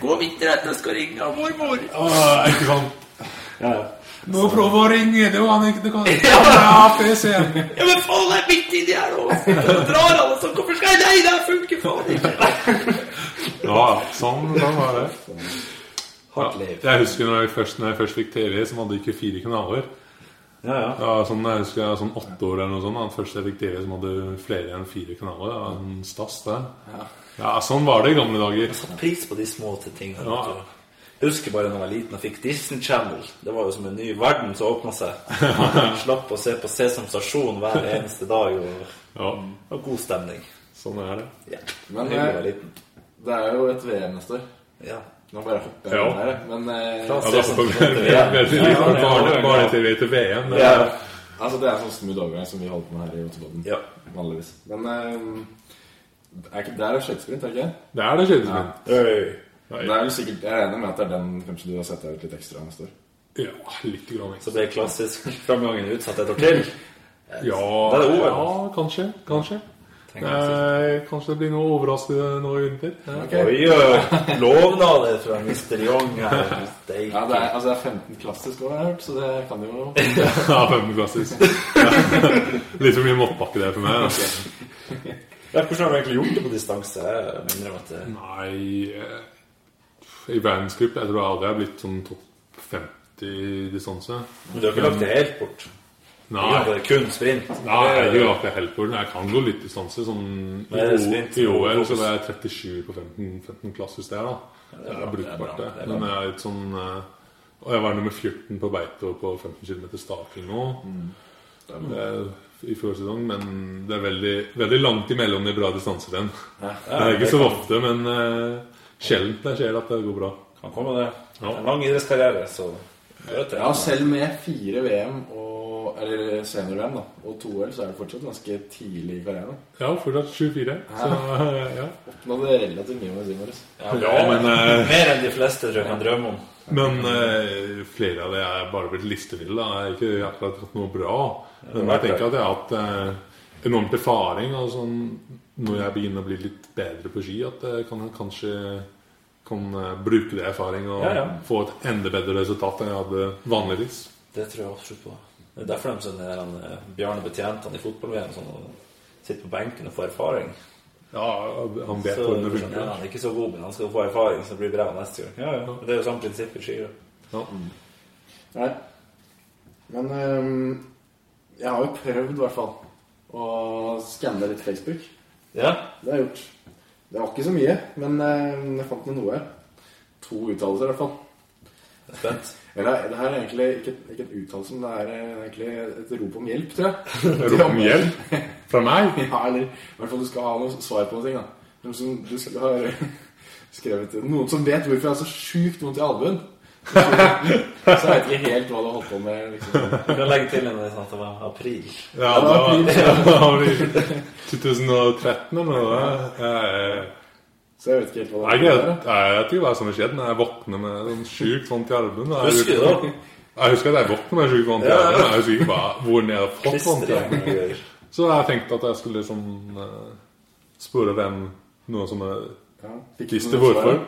Speaker 3: Gå videre, jeg skal ringe av mormor!
Speaker 4: Åh, ikke sant?
Speaker 3: Ja, ja.
Speaker 4: Nå prøv å ringe! Det var han ikke det kan. Ja, PC-en.
Speaker 3: ja, men faen, jeg er midt inni her nå! Nå drar alle sånn! Hvorfor skal jeg Nei, det her funker faen ikke!
Speaker 4: Ja, sånn, sånn var det.
Speaker 3: Hardt liv.
Speaker 4: Jeg husker når jeg først, når jeg først fikk TV, som hadde ikke fire kanaler.
Speaker 3: Ja, ja.
Speaker 4: Ja, sånn, jeg husker jeg var sånn åtte år eller noe sånt. da. Først jeg fikk TV som hadde flere enn fire kanaler. Det var en stas, det.
Speaker 2: Ja.
Speaker 4: Ja, sånn var det i gamle dager.
Speaker 3: Jeg satte pris på de små tingene.
Speaker 4: Ja.
Speaker 3: vet du. Jeg husker bare da jeg var liten og fikk Disney Channel. Det var jo som en ny verden som åpna seg. Slapp å se på Sesam Stasjon hver eneste dag. Og,
Speaker 4: Ja,
Speaker 3: og god stemning.
Speaker 4: sånn er det.
Speaker 3: Ja.
Speaker 2: Men,
Speaker 3: Hyggelig å
Speaker 2: eh,
Speaker 3: være liten.
Speaker 2: Det er jo et VM neste år.
Speaker 3: Ja.
Speaker 2: Nå bare hopper jeg
Speaker 4: Ja.
Speaker 2: inn her, jeg. men eh,
Speaker 3: Fra
Speaker 4: Ja, da
Speaker 3: Sesam
Speaker 4: hopper
Speaker 3: Stasjon til VM.
Speaker 4: vi veldig
Speaker 3: Sånn Ja,
Speaker 4: litt fra
Speaker 3: ja,
Speaker 4: barne-
Speaker 3: ja.
Speaker 4: barne-TV til VM. Det
Speaker 3: Ja.
Speaker 4: er-
Speaker 2: altså, det er en sånn smooth overgang som vi holder på med her i Otterpodden.
Speaker 3: Ja.
Speaker 2: Vanligvis. Men eh, er ikke, det er jo skøytesprint, er det ikke?
Speaker 4: det er det skjønner
Speaker 2: Ja.
Speaker 3: Øy.
Speaker 4: Ja.
Speaker 2: Det er vel sikkert, Jeg regner med at det er den kanskje du har sett deg ut litt ekstra neste år.
Speaker 4: Ja, litt grann ekstra.
Speaker 3: Så ble klassisk framgangen utsatt et år til.
Speaker 4: Ja,
Speaker 3: Det er det
Speaker 4: ja,
Speaker 3: OL.
Speaker 4: kanskje. Kanskje.
Speaker 3: Tenk altså.
Speaker 4: Eh, kanskje det blir noe overraskende nå i vinter. Ja.
Speaker 2: Ok.
Speaker 3: Oi, øy. Lovnader fra Mr. Young her. Steik.
Speaker 2: Ja, det er, altså, det er 15 klassisk år, har jeg hørt, så det kan jo
Speaker 4: Ja, femte klassisk. Litt for mye motbakke det er for meg. Altså.
Speaker 3: Ja, Hvordan har du egentlig gjort det på distanse? Jeg minner om at det
Speaker 4: Nei eh, I verdenscup jeg tror jeg hadde jeg blitt sånn topp 50 distanse.
Speaker 3: Men du har ikke lagt det helt bort?
Speaker 4: Nei,
Speaker 3: Ja, det er kun sprint.
Speaker 4: nei jeg har ikke lagt det helt på den. Jeg kan gå litt distanse. Sånn, i,
Speaker 3: Men
Speaker 4: O-
Speaker 3: sprint-
Speaker 4: I OL så var jeg 37 på 15, 15 klassisk der, da. Det er brukbart, det.
Speaker 3: det er bra.
Speaker 4: Men jeg er litt sånn eh, Og jeg var nummer 14 på Beito på 15 km staking nå. Eh, I fjor sesong, men det er veldig, veldig langt imellom de bra distanserenn. Det er ikke så ofte, men uh, sjelden det skjer at det går bra.
Speaker 3: Kan komme det.
Speaker 4: Ja.
Speaker 3: En lang idrettskarriere, så vet
Speaker 2: Ja, selv med fire VM og Eller senior-VM, da, og to OL, så er det fortsatt ganske tidlig i karrieren.
Speaker 4: Ja, fortsatt 24. Så, eh, ja.
Speaker 2: Oppnådde relativt mye med altså. siden vår.
Speaker 4: ja, men, eh,
Speaker 3: Mer enn de fleste tror jeg kan drømme om.
Speaker 4: men eh, flere av de er bare blitt listefille. da. Jeg har ikke akkurat hatt noe bra. Men jeg tenker at jeg har hatt eh, enormt erfaring. og sånn, når jeg begynner å bli litt bedre på ski, at jeg kan kanskje kan eh, bruke det erfaring og
Speaker 3: Ja, ja.
Speaker 4: få et enda bedre resultat enn jeg hadde vanligvis.
Speaker 3: Det tror jeg absolutt på. Det er derfor de sender han, eh, Bjarne Betjentene i fotball-VM sånn, og sitter på benken og får erfaring.
Speaker 4: Ja, han vet
Speaker 3: Så,
Speaker 4: hvordan
Speaker 3: ja,
Speaker 4: det funker.
Speaker 3: han er ikke så god, men han skal få erfaring, så det blir bra neste gang. Ja, ja. Det er jo samme prinsipp i ski. da.
Speaker 4: Ja.
Speaker 2: Nei. Men øhm, jeg har jo prøvd, i hvert fall, å skanne litt Facebook.
Speaker 3: Ja.
Speaker 2: Det har jeg gjort. Det var ikke så mye, men øhm, jeg fant med noe her. To uttalelser, i hvert fall.
Speaker 3: jeg er Spent.
Speaker 2: Eller det her er egentlig ikke, ikke en uttalelse, men det er eh, egentlig et rop om hjelp, tror jeg.
Speaker 4: Rop om hjelp fra meg?
Speaker 2: Ja, eller i hvert fall du skal ha noe svar på noe ting, da. Noen som du skal ha skrevet Noen som vet hvorfor jeg har så sjukt vondt i albuen. Så jeg vet ikke helt hva du har holdt på med. liksom.
Speaker 3: Du kan legge til en sånn at det var april.
Speaker 4: Ja,
Speaker 2: det var
Speaker 4: det
Speaker 2: april,
Speaker 4: var det var i 2013 eller noe. Jeg,
Speaker 2: Så jeg vet ikke helt hva
Speaker 4: jeg,
Speaker 2: det
Speaker 4: jeg,
Speaker 2: er.
Speaker 4: jeg vet ikke hva som har skjedd, men jeg våkner med sånn sjukt vondt i armen. Jeg,
Speaker 3: Husker du det?
Speaker 4: Jeg husker at jeg våkner med sjukt vondt i armen. men Jeg husker ikke hva, hvor jeg har fått vondt i armen.
Speaker 3: Klistring.
Speaker 4: Så jeg tenkte at jeg skulle liksom eh, spørre hvem noe som er
Speaker 2: Ja, fikk ikke
Speaker 4: visste
Speaker 2: noe svar.
Speaker 4: hvorfor.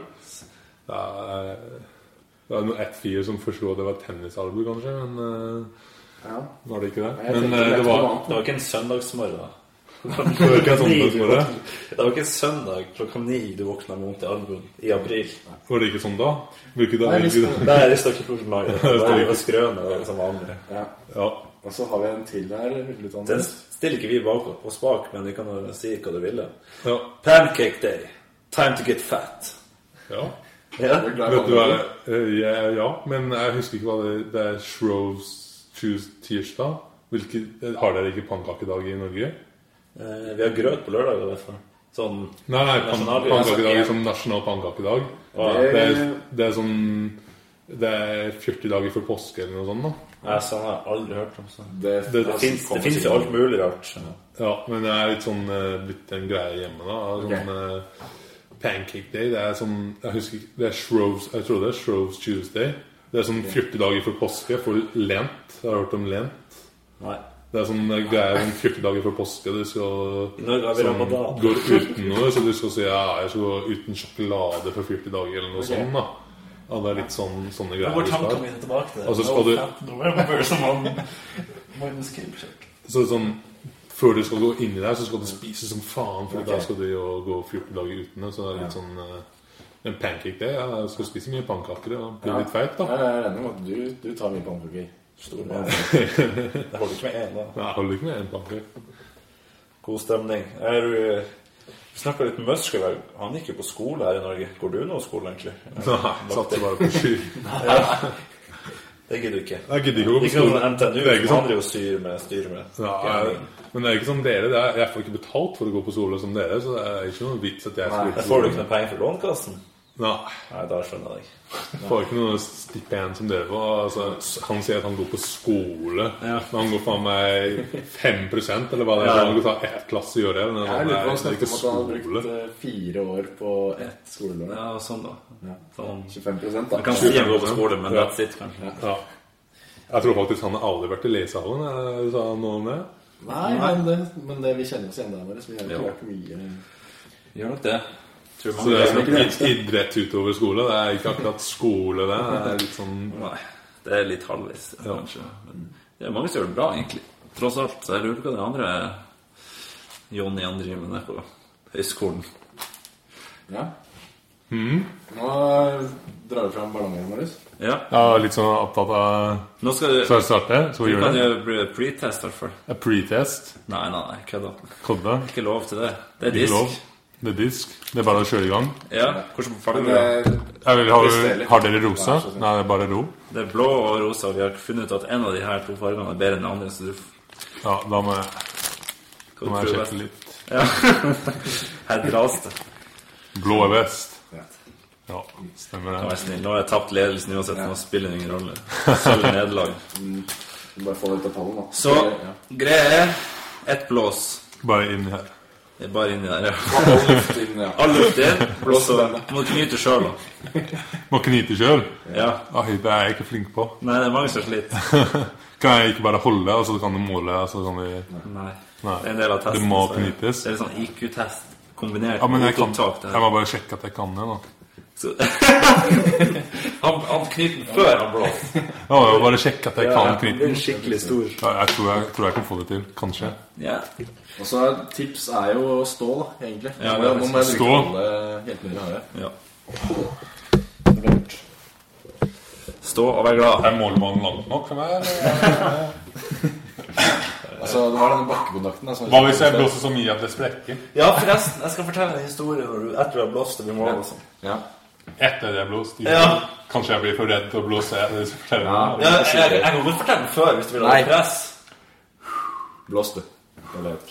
Speaker 4: Det er, det er noen ett fyr som forsto at det var tennisalbue, kanskje, men eh,
Speaker 2: Ja.
Speaker 4: var det ikke det?
Speaker 2: Nei, jeg
Speaker 4: Men
Speaker 2: tenkte
Speaker 4: eh,
Speaker 2: rett
Speaker 4: det
Speaker 2: på
Speaker 4: var,
Speaker 2: noe annet.
Speaker 3: Det var ikke en søndagsmorgen. da.
Speaker 4: det var ikke en søndagsmorgen.
Speaker 3: Det var ikke en søndag klokka ni du våkna med vondt i albuen i april.
Speaker 4: Var det ikke sånn da? Hvilket da?
Speaker 2: Nei,
Speaker 4: Hvilket da?
Speaker 3: Nei, det står ikke på journalen. Det var jo skrøne det som vanlig.
Speaker 2: Ja.
Speaker 4: Ja.
Speaker 2: Og så har vi en til her. Litt
Speaker 3: Den
Speaker 2: annerledes.
Speaker 3: stiller ikke vi bak oss bak, men vi kan jo si hva du ville.
Speaker 4: ja.
Speaker 3: Pancake day. Time to get fat.
Speaker 4: ja.
Speaker 3: Ja.
Speaker 2: Jeg er glad i
Speaker 4: Vet du hva?
Speaker 2: vanlig.
Speaker 4: Eh, Ja, ja, men jeg husker ikke hva det er. Det er Shroves Tues- tirsdag. Hvilke, eh, har dere ikke pannkakedag i Norge?
Speaker 3: Eh, Vi har grøt på lørdag, i hvert fall. Sånn
Speaker 4: Nei, nei pan,
Speaker 3: Nasjonal-
Speaker 4: pannkakedag er som nasjonal pannkakedag.
Speaker 3: Hva?
Speaker 4: Det er, det er sånn Det er 40 dager før påske eller noe sånt. da
Speaker 3: Nei, sånn har jeg aldri hørt om. sånn.
Speaker 2: Det,
Speaker 4: Det
Speaker 3: Det fins det finnes jo alt mulig rart.
Speaker 4: Ja, Men det er litt sånn eh, blitt en greie hjemme, da. Sånn, eh, Pancake Day. Det er sånn Jeg husker ikke Det er Shroves Jeg tror det er Shroves Tuesday. Det er sånn 40 dager før påske. For lent. Har du hørt om lent?
Speaker 3: Nei.
Speaker 4: Det er sånn eh, greie om 40 dager før påske. Du skal
Speaker 3: I Norge har vi
Speaker 4: som
Speaker 3: ramadan.
Speaker 4: går uten noe, så du skal si ja, jeg skal gå uten sjokolade for 40 dager, eller noe
Speaker 2: Ok.
Speaker 4: sånt. da Ja, det er litt sånn, sånne greier.
Speaker 3: Hvor
Speaker 4: du skal ha.
Speaker 3: tankene mine tilbake til det?
Speaker 4: Altså, skal du- Så sånn Før du skal gå inn i det, her, så skal du spise som faen, for da skal du jo gå 14 dager uten det. Så det er litt sånn eh, En pancake, det. Jeg skal spise mye pannekaker og bli
Speaker 2: Ja.
Speaker 4: litt feit, da.
Speaker 2: Jeg er enig med at du, du tar mye pannekaker.
Speaker 3: Stor mann. Det holder ikke med én, da.
Speaker 4: Nei, Jeg holder ikke med én pancake.
Speaker 3: God stemning. Er du Vi snakka litt med Muskelberg. Han gikk jo på skole her i Norge. Går du nå på skole, egentlig?
Speaker 4: Nei, satser bare på sky.
Speaker 3: Det gidder du ikke.
Speaker 4: Jeg gidder ikke å gå på
Speaker 3: Ikke noe
Speaker 4: skole.
Speaker 3: sånn NTNU,
Speaker 4: Det er ikke
Speaker 3: som
Speaker 4: sånn-
Speaker 3: andre jo styrer med. Styrer med.
Speaker 4: Ja, jeg, men det er ikke som dere. Det er, jeg får ikke betalt for å gå på skole som dere, så det er ikke noe vits at jeg
Speaker 3: Nei,
Speaker 4: skulle på
Speaker 3: Får du
Speaker 4: skole.
Speaker 3: ikke noe penger fra Lånekassen?
Speaker 4: Nei,
Speaker 3: Nei, da skjønner jeg deg.
Speaker 4: jeg får ikke noe stipend som dere får. Altså, han sier at han går på skole,
Speaker 3: Ja.
Speaker 4: men han går faen meg 5 eller hva det er.
Speaker 3: Ja.
Speaker 4: Han kan ta ett klasse i året. Men
Speaker 2: Jeg
Speaker 4: han
Speaker 2: lurer på om
Speaker 4: er
Speaker 2: han snakket
Speaker 4: ikke
Speaker 2: om at han hadde brukt
Speaker 4: skole.
Speaker 2: eh, fire år på ett skolelår.
Speaker 3: Ja, sånn, da.
Speaker 2: Ja.
Speaker 3: Sånn.
Speaker 2: 25 da.
Speaker 3: Man kan si at
Speaker 4: han
Speaker 3: går på skole, men that's it, kanskje.
Speaker 4: Ja. Jeg tror faktisk han har aldri vært i lesehallen. eh, Sa han noe om det?
Speaker 2: Nei, men det, men det vi kjenner oss igjen der, Marius. Vi har
Speaker 3: Jo.
Speaker 2: jo klart mye
Speaker 3: Gjør nok det. Tror
Speaker 4: Så det
Speaker 3: mange
Speaker 4: er
Speaker 3: gjør
Speaker 4: sånn
Speaker 3: nok
Speaker 4: id- idrett utover skole. Det er ikke akkurat skole, det. Det er litt sånn
Speaker 3: Nei, det er litt halvveis, kanskje. Men det er mange som gjør det bra, egentlig. Tross alt. Så jeg lurer på hva de andre Johnny han driver med der på høyskolen.
Speaker 2: Ja.
Speaker 3: Hmm?
Speaker 2: Nå eh, drar du fram ballongen, Marius.
Speaker 3: Ja.
Speaker 4: Ja, litt sånn opptatt av
Speaker 3: Nå skal du
Speaker 4: Skal jeg starte? Skal vi
Speaker 3: Du
Speaker 4: gjøre
Speaker 3: kan
Speaker 4: det?
Speaker 3: jo bli pretest, i hvert fall.
Speaker 4: A Pretest.
Speaker 3: Nei, nei, nei, kødda.
Speaker 4: Kodde.
Speaker 3: Ikke lov til det. Det er
Speaker 4: Ikke lov.
Speaker 3: disk.
Speaker 4: Det er disk. Det er bare å kjøre i gang.
Speaker 3: Ja, hvordan farger
Speaker 2: Men,
Speaker 3: du det?
Speaker 2: eh,
Speaker 4: Jeg vil, har,
Speaker 2: Presterer.
Speaker 4: har dere rosa?
Speaker 2: Vær så snill.
Speaker 4: Nei, det er bare ro.
Speaker 3: Det er blå og rosa, og vi har funnet ut at en av de her to fargene er bedre enn den andre, så du
Speaker 4: Ja, da må jeg, da
Speaker 3: kan
Speaker 4: må
Speaker 3: tro
Speaker 4: jeg
Speaker 3: best.
Speaker 4: sjekke litt.
Speaker 3: Her dras det.
Speaker 4: Blå er best.
Speaker 2: ja.
Speaker 4: Ja, stemmer
Speaker 3: Vær
Speaker 4: det.
Speaker 3: snill. Nå har jeg tapt ledelsen uansett, nå spiller det ingen rolle. Sølv nederlag.
Speaker 2: Du Bare få det ut av pallen, da.
Speaker 3: Så
Speaker 2: ja.
Speaker 3: greia er ett blås.
Speaker 4: Bare inn her.
Speaker 3: Det er bare inni der, ja.
Speaker 2: Hold luft inn, ja.
Speaker 3: All luft inn, blås og Må knyte sjøl, da.
Speaker 4: Må knyte sjøl.
Speaker 3: Ja.
Speaker 4: Oi, det er jeg ikke flink på.
Speaker 3: Nei, det er mange som sliter.
Speaker 4: Kan jeg ikke bare holde, og så kan du måle, og så kan vi
Speaker 3: Nei.
Speaker 4: Nei.
Speaker 3: Det er en del av testen.
Speaker 4: Det må
Speaker 3: så-
Speaker 4: knytes.
Speaker 3: Det er en sånn IQ-test kombinert
Speaker 4: Ja, men jeg, kan,
Speaker 3: opptak, det her.
Speaker 4: jeg må bare sjekke at jeg kan det, da.
Speaker 3: Så- han, han knyter den før han blåser.
Speaker 4: Ja, jeg må bare sjekke at jeg kan knyte.
Speaker 3: er skikkelig stor.
Speaker 4: Ja, Jeg tror jeg, tror jeg kan få det til. Kanskje.
Speaker 3: Ja.
Speaker 2: Og så er- tips er jo å stå, da, egentlig. Nå må
Speaker 3: Ja,
Speaker 2: jeg-
Speaker 3: det er
Speaker 2: nå må jeg bruke
Speaker 4: stå.
Speaker 2: alle hjelpene jeg har.
Speaker 3: ja. Stå og vær glad.
Speaker 4: Er målmannen langt nok for meg? eller?
Speaker 2: Altså, det var denne bakkekontakten. da, som-
Speaker 4: Hva hvis jeg blåser så mye at det sprekker?
Speaker 3: Ja, forresten, jeg skal fortelle en historie når du, etter du har blåst og vi må og sånn.
Speaker 2: Ja.
Speaker 4: Etter det jeg blåst?
Speaker 3: Ja.
Speaker 4: Kanskje jeg blir for redd til å blåse? Jeg, jeg,
Speaker 3: Ja, jeg, jeg, jeg kan godt fortelle den før hvis du vil ha
Speaker 2: Nei.
Speaker 3: litt press.
Speaker 2: Blås, du. Det er lurt.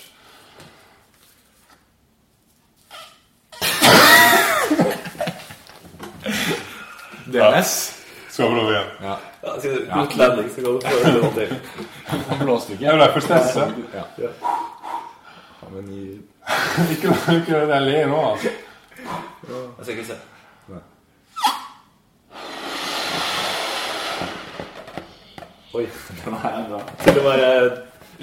Speaker 2: DNS.
Speaker 4: Skal vi love igjen?
Speaker 2: Ja.
Speaker 3: Ja, skal du Good landing, så kan du få det noe til.
Speaker 2: Han blåste ikke.
Speaker 4: Jeg ble for stressa.
Speaker 2: Ja. Ja, men i...
Speaker 4: Ikke ikke det jeg ler nå, altså.
Speaker 3: Jeg skal ikke se.
Speaker 2: Oi, den her er bra.
Speaker 3: Til å være eh,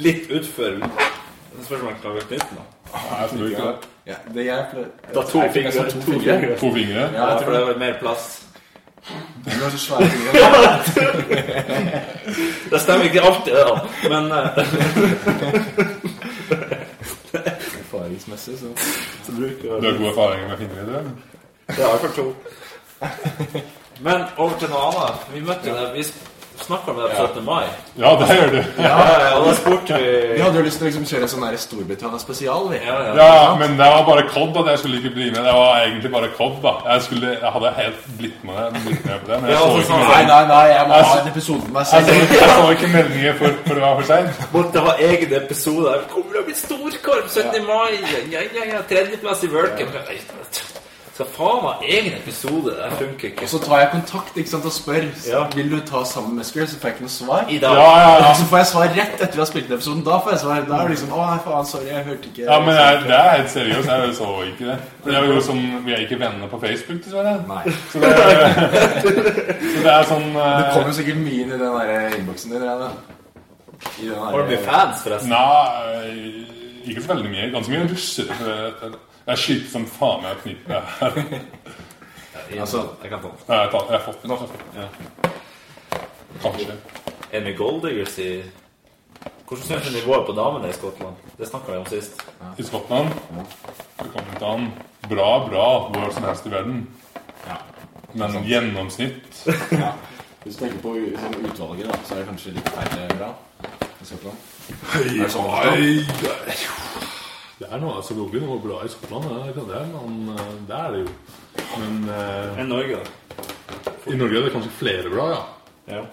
Speaker 3: litt utfor. Det spørs om jeg klarer å knytte den. da.
Speaker 4: Jeg tror ikke det.
Speaker 2: Ja, det jeg pleier
Speaker 3: Da to
Speaker 2: Jeg fikk
Speaker 3: fingre.
Speaker 2: nesten to fingre.
Speaker 4: To
Speaker 2: Ja,
Speaker 4: fingre?
Speaker 3: Ja,
Speaker 2: jeg
Speaker 3: for
Speaker 2: tror det.
Speaker 3: det er vel mer plass.
Speaker 2: Du har så svære fingre.
Speaker 3: Det stemmer ikke alltid, det, da. Men eh,
Speaker 2: Erfaringsmessig, så
Speaker 3: så bruker
Speaker 4: Du
Speaker 3: jeg
Speaker 4: har gode erfaringer med fingre, du?
Speaker 3: Det har jeg for to. Men over til noe annet. Vi møtte deg, vi snakka med deg på 17. mai.
Speaker 4: Ja, det gjør du.
Speaker 3: Ja, ja, og da spurte
Speaker 2: Vi
Speaker 3: vi
Speaker 2: hadde jo lyst til å liksom kjøre en sånn der Storbritannia spesial, vi.
Speaker 3: Ja, ja.
Speaker 4: Ja, men det var bare kodd at jeg skulle ikke bli med. Det var egentlig bare kodd, da. Jeg, skulle, jeg hadde helt blitt med, blitt med på det, men
Speaker 3: Ja,
Speaker 4: jeg så
Speaker 3: altså,
Speaker 4: ikke,
Speaker 3: sånn.
Speaker 2: Nei, Altså- nei, nei, jeg må ha en episode for meg
Speaker 4: jeg
Speaker 2: selv.
Speaker 4: så, jeg så ikke meldingen for, for det var for seint.
Speaker 3: Måtte ha egen episode. Jeg Kommer til å bli storkorp 17. mai! Ja, ja, ja, Tredjeplass i Worldcup. Skal faen meg ha egen episode. Det funker ikke.
Speaker 2: Og så tar jeg kontakt ikke sant, og spør
Speaker 3: Ja.
Speaker 2: Vil du ta sammen med Musker, så får jeg ikke noe svar.
Speaker 3: I
Speaker 4: Ja,
Speaker 3: dag.
Speaker 4: ja, ja.
Speaker 2: Så får jeg svar rett etter vi har spilt inn episoden. Da får jeg svar. Da er det liksom Å, nei, faen, sorry, jeg hørte ikke
Speaker 4: Ja, men jeg, det er helt seriøst. Jeg så ikke det. Det er jo sånn, Vi er ikke venner på Facebook, dessverre.
Speaker 2: Nei.
Speaker 4: Så det, så det er sånn
Speaker 2: Det
Speaker 4: eh,
Speaker 2: kommer sikkert mye inn i den der innboksen din. Rene. I den
Speaker 3: Har du
Speaker 2: der,
Speaker 3: blitt fans, forresten?
Speaker 4: Nei, eh, ikke så veldig mye. Ganske mye russere. for jeg- Jeg skyter som faen meg knyttet.
Speaker 2: altså,
Speaker 3: jeg kan ta den.
Speaker 4: Jeg har tatt- jeg har fått den. altså. Kanskje.
Speaker 3: Er det Golddiggers i Hvordan syns du nivået på damene i Skottland? Det snakka vi om sist.
Speaker 4: I Skottland så kom det til han. Bra, bra, hvor som helst i verden. Men gjennomsnitt
Speaker 2: Ja. Hvis du tenker på u- sånn utvalget, da, så er det kanskje litt færre bra. i Skottland.
Speaker 4: Høy,
Speaker 2: det sånn å
Speaker 4: Det er noe selvfølgelig noe bra i Skottland, det kan det, men eh, det er det jo. Men eh,
Speaker 3: Enn Norge, da.
Speaker 4: i Norge er det kanskje flere bra, ja.
Speaker 3: Ja.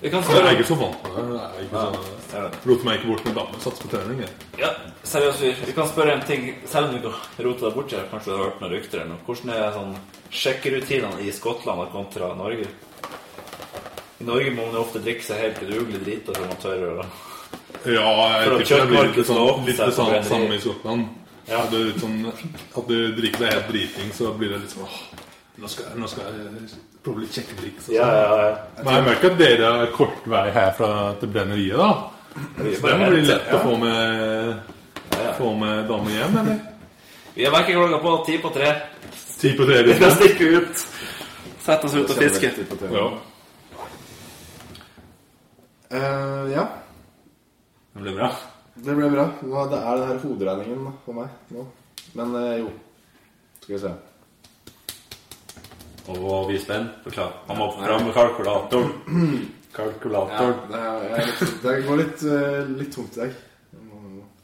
Speaker 3: Vi kan
Speaker 4: Jeg
Speaker 3: spørre
Speaker 4: er ikke så vant med det. det. er ikke sånn-
Speaker 3: Ja.
Speaker 4: Lot meg ikke bort med dame, satser på trening. jeg.
Speaker 3: Ja, seriøst, vi, vi kan spørre en ting. Selv om vi kan rote deg bort her, kanskje du har hørt noen rykter eller noe. Hvordan er sånn sjekkerutinene i Skottland og kontra Norge? I Norge må man jo ofte drikke seg helt udugelig drita før man tør å
Speaker 4: Ja, jeg
Speaker 3: For å
Speaker 4: tipper det blir litt
Speaker 3: kjøttmarkedet
Speaker 4: sånn,
Speaker 3: nå, så
Speaker 4: litt
Speaker 3: er det
Speaker 4: sånn
Speaker 3: veldig-
Speaker 4: samme i Skottland.
Speaker 3: Ja.
Speaker 4: At, du, litt sånn, at du drikker deg helt driting, så blir det litt sånn åh, nå skal, jeg- nå skal jeg prøve litt kjekkedrikk. så-
Speaker 3: ja, ja.
Speaker 4: Men jeg merker at dere har kort vei herfra til brenneriet, da. Så det må bli lett å få med, få med dame hjem, eller?
Speaker 3: Vi er vekk i klokka på ti på tre.
Speaker 4: Ti på tre.
Speaker 3: Vi skal
Speaker 4: liksom.
Speaker 3: stikke ut. Sette oss ut og
Speaker 2: Kjenner
Speaker 3: fiske.
Speaker 2: litt på TV.
Speaker 4: Ja.
Speaker 2: Eh, ja,
Speaker 4: Det blir bra.
Speaker 2: det ble bra. Nå- Det er den her hoderegningen da, for meg nå. Men eh, jo. Skal vi se.
Speaker 3: Og vi er spent. Beklager. Han må fram med kalkulatoren.
Speaker 2: Ja,
Speaker 3: Kalkulatoren.
Speaker 2: det, er, jeg er litt, det går litt, eh, litt tomt i dag.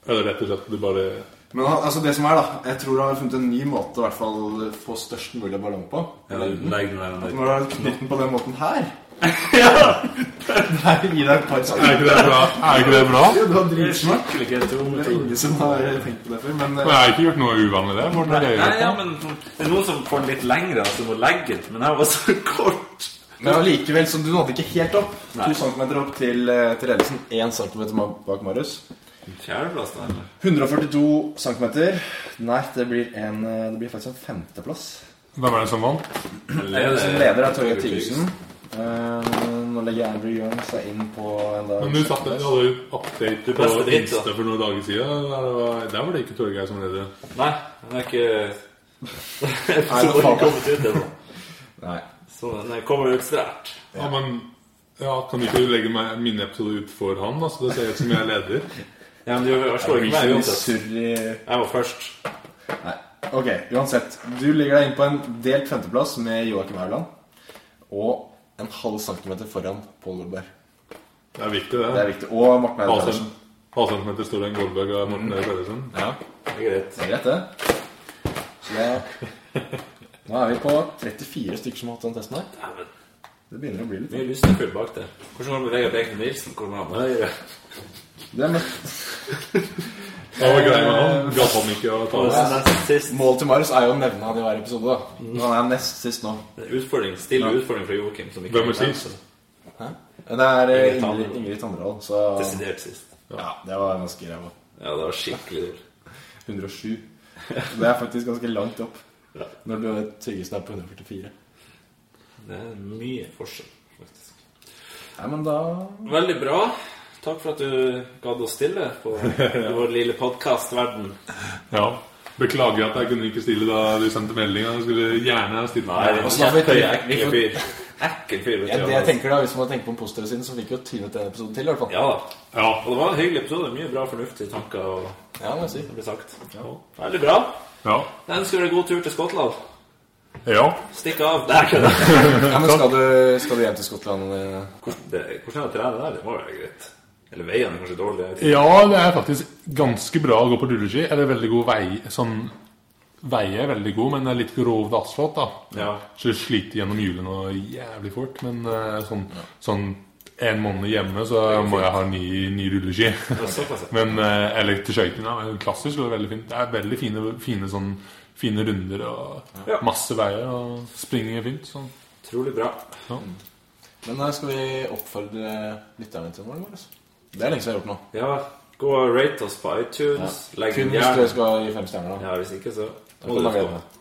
Speaker 4: Eller rett og slett du bare
Speaker 2: Men han- altså, det som er, da Jeg tror han har funnet en ny måte å i hvert fall få størst mulig ballong på.
Speaker 3: Ja, legg den
Speaker 2: At
Speaker 3: der under.
Speaker 2: Når du har knytt den på den måten her Ja! Gi deg et par
Speaker 4: Er ikke det bra? Er ikke det bra?
Speaker 2: Du har
Speaker 3: Det er
Speaker 2: dritsmak.
Speaker 3: skikkelig
Speaker 2: Det er ingen som har tenkt på det før. Men
Speaker 4: Men
Speaker 2: eh,
Speaker 4: jeg har ikke gjort noe uvanlig der. Morten, har
Speaker 3: Nei,
Speaker 4: dere gjort
Speaker 3: ja,
Speaker 4: noe?
Speaker 3: men sånn, det er noen som får den litt lengre, altså må legge den. Men jeg var så kort.
Speaker 2: men allikevel, så du nådde ikke helt opp.
Speaker 3: Nei.
Speaker 2: To centimeter opp til, eh, til Ellesen. Én centimeter ma- bak Marius.
Speaker 3: Fjerdeplass, da? eller?
Speaker 2: 142 centimeter. Nei, det blir, en, eh, det blir faktisk en femteplass.
Speaker 4: Hvem er det som vant?
Speaker 3: Er
Speaker 2: Som
Speaker 3: det-
Speaker 2: leder er Torgeir Tygesen. Eh, nå legger Andrew Young seg inn på en dag
Speaker 4: Men du satt der, hadde jo update på
Speaker 3: Beste dritt, da.
Speaker 4: Insta for noen dager siden. Der var, der var det ikke Torgeir som leder.
Speaker 3: Nei, den er ikke
Speaker 2: Nei,
Speaker 3: Så
Speaker 2: det
Speaker 3: den
Speaker 2: faller.
Speaker 3: kommet ut ennå.
Speaker 2: Nei.
Speaker 3: Så den kommer ut strært.
Speaker 4: Ja, men ja, kan ikke du legge meg, min episode ut for han? da? Så det ser ut som jeg er leder.
Speaker 3: Ja, men du slår
Speaker 2: Det blir
Speaker 3: ikke meg
Speaker 2: så mye
Speaker 3: uansett.
Speaker 2: surr i
Speaker 3: Jeg var først.
Speaker 2: Nei. Ok, uansett. Du ligger deg inn på en delt femteplass med Joakim Hauland. Og en halv centimeter foran Pål Goldberg.
Speaker 4: Det er viktig,
Speaker 2: Det
Speaker 4: det.
Speaker 2: er viktig. Og Morten Eirik
Speaker 4: Halv
Speaker 2: Pedersen.
Speaker 4: halvcentimeter større enn Goldberg og Morten Øyre Pedersen.
Speaker 2: Ja,
Speaker 3: Det er greit.
Speaker 2: det er greit, det. Så det Nå er vi på 34 stykker som har hatt den testen her.
Speaker 3: Dæven.
Speaker 2: Det begynner å bli litt
Speaker 3: Mye lystefyll bak der. Hvordan går det med Vegard Beken Nilsen? Hvor er han? Høyre.
Speaker 2: det er
Speaker 4: Det var greia med han. Gadd han ikke å ta
Speaker 3: Og
Speaker 4: det.
Speaker 3: så nest sist.
Speaker 2: Målet til Marius er jo å nevne han i hver episode. da Men Han er nest sist nå.
Speaker 3: Det er Utfordring, stille utfordring fra Joakim. som ikke
Speaker 4: Hvem er
Speaker 3: kan ta
Speaker 4: sist?
Speaker 3: den.
Speaker 2: Det er eh,
Speaker 3: Ingrid Tandrevold.
Speaker 2: Ingrid, Ingrid Tandrevold, så
Speaker 3: Desidert sist.
Speaker 2: Ja, det var ganske ræva.
Speaker 3: Ja, det var skikkelig dårlig.
Speaker 2: 107. Det er faktisk ganske langt opp. Når du Tryggesen er på 144.
Speaker 3: Det er mye forskjell, faktisk.
Speaker 2: Nei, men da
Speaker 3: Veldig bra. Takk for at du gadd å stille på i vår lille podkastverden.
Speaker 4: Ja. Beklager at jeg kunne ikke stille da du sendte meldinga. Jeg skulle gjerne ha stilt
Speaker 2: og
Speaker 4: meg.
Speaker 2: så har vi-
Speaker 3: Kjempehøy, ekkel fyr. Ekkel fyr. vet
Speaker 2: ja,
Speaker 3: du,
Speaker 2: det jeg
Speaker 3: altså.
Speaker 2: tenker da, Hvis man tenker på den positive siden, så fikk vi jo trynet en episode til. i hvert fall
Speaker 3: Ja da.
Speaker 4: Ja.
Speaker 3: Og det var en hyggelig episode. Mye bra fornuftige tanker og
Speaker 2: Ja, må jeg si
Speaker 3: det ble sagt. Veldig bra.
Speaker 4: Ja.
Speaker 3: Jeg ønsker deg god tur til Skottland.
Speaker 4: ja.
Speaker 3: Stikk av. Der kødder jeg.
Speaker 2: ja, men skal du, skal du hjem til Skottland? eh?
Speaker 3: Hvordan er det å trene der? Det må være greit. Eller veiene er kanskje dårlige.
Speaker 4: Ja, det er faktisk ganske bra å gå på rulleski. Eller veldig god vei Sånn Veier er veldig god, men det er litt grovt asfalt, da.
Speaker 3: Ja.
Speaker 4: Så du sliter gjennom hjulene noe jævlig fort. Men eh, sånn, sånn en måned hjemme, så må jeg ha ny, ny rulleski.
Speaker 3: Det er såpass.
Speaker 4: Men eh, eller til skøytene. da, men Klassisk går det veldig fint. Det er veldig fine, fine, sånn, fine runder og
Speaker 3: Ja.
Speaker 4: masse veier. Og springing er fint. Sånn.
Speaker 3: Utrolig bra.
Speaker 2: Men da skal vi oppfordre lytterne til noe? eller? altså? Det er lenge siden jeg har gjort nå.
Speaker 3: Ja, gå og rate oss på iTunes. Legg
Speaker 2: Kun
Speaker 3: en
Speaker 2: hvis dere
Speaker 3: gjerne
Speaker 2: skal gi fem stjerner, da.
Speaker 3: Ja, hvis ikke, så
Speaker 2: Da
Speaker 3: må
Speaker 2: kan
Speaker 3: du
Speaker 2: man glede
Speaker 3: få.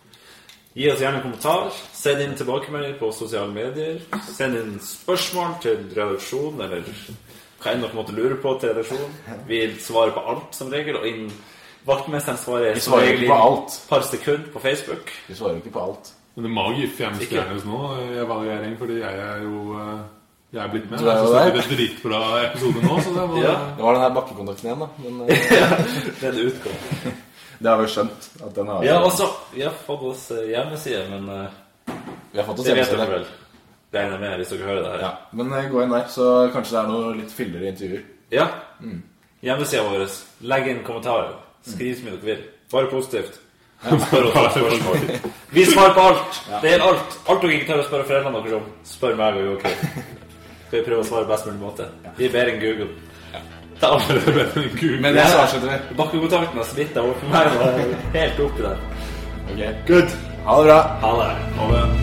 Speaker 3: Gi oss gjerne en kommentar. Send inn tilbakemeldinger på sosiale medier. Send inn spørsmål til redaksjonen, eller hva enn dere måtte lure på til redaksjonen. Vi svarer på alt som regel, og innen vaktmesteren svarer
Speaker 2: Vi svarer ikke på alt.
Speaker 3: et par sekunder på Facebook.
Speaker 2: Vi svarer jo ikke på alt.
Speaker 4: Men det må jo gi fem
Speaker 3: Ikke.
Speaker 4: stjerner nå, eh, evaluering, fordi jeg er jo eh, Jeg er blitt med.
Speaker 2: Du er
Speaker 4: Jeg
Speaker 2: jo
Speaker 4: synes det er dritbra episode nå, så det var
Speaker 3: Ja.
Speaker 2: Det var den her bakkekontakten igjen, da. Men eh,
Speaker 3: Det er det utgang.
Speaker 2: det har vi skjønt. at den har
Speaker 3: Ja, også, vi har fått oss eh, hjemmeside, men eh,
Speaker 2: Vi har fått oss
Speaker 3: Det vet dere
Speaker 2: hjemmeside.
Speaker 3: vel. Det regner jeg med hvis dere hører det her.
Speaker 2: Ja, men eh, gå inn der, så kanskje det er noe litt fillere intervjuer.
Speaker 3: Ja. Hjemmesida vår. Legg inn kommentarer. Skriv så mye dere vil. Bare positivt. Spør oss alle spørsmål. Vi svarer på alt. Det gjelder alt. Alt dere ikke tør å spørre foreldrene deres om, spør meg og Joakim. Skal vi prøve å svare på best mulig måte? Vi er bedre enn Google. Ta over.
Speaker 2: Men det så avslutter vi.
Speaker 3: Bakkekontakten har smitta over for meg. og jeg er Helt oppi der.
Speaker 2: Good. Ha det bra.
Speaker 3: Ha det.
Speaker 4: Ha det.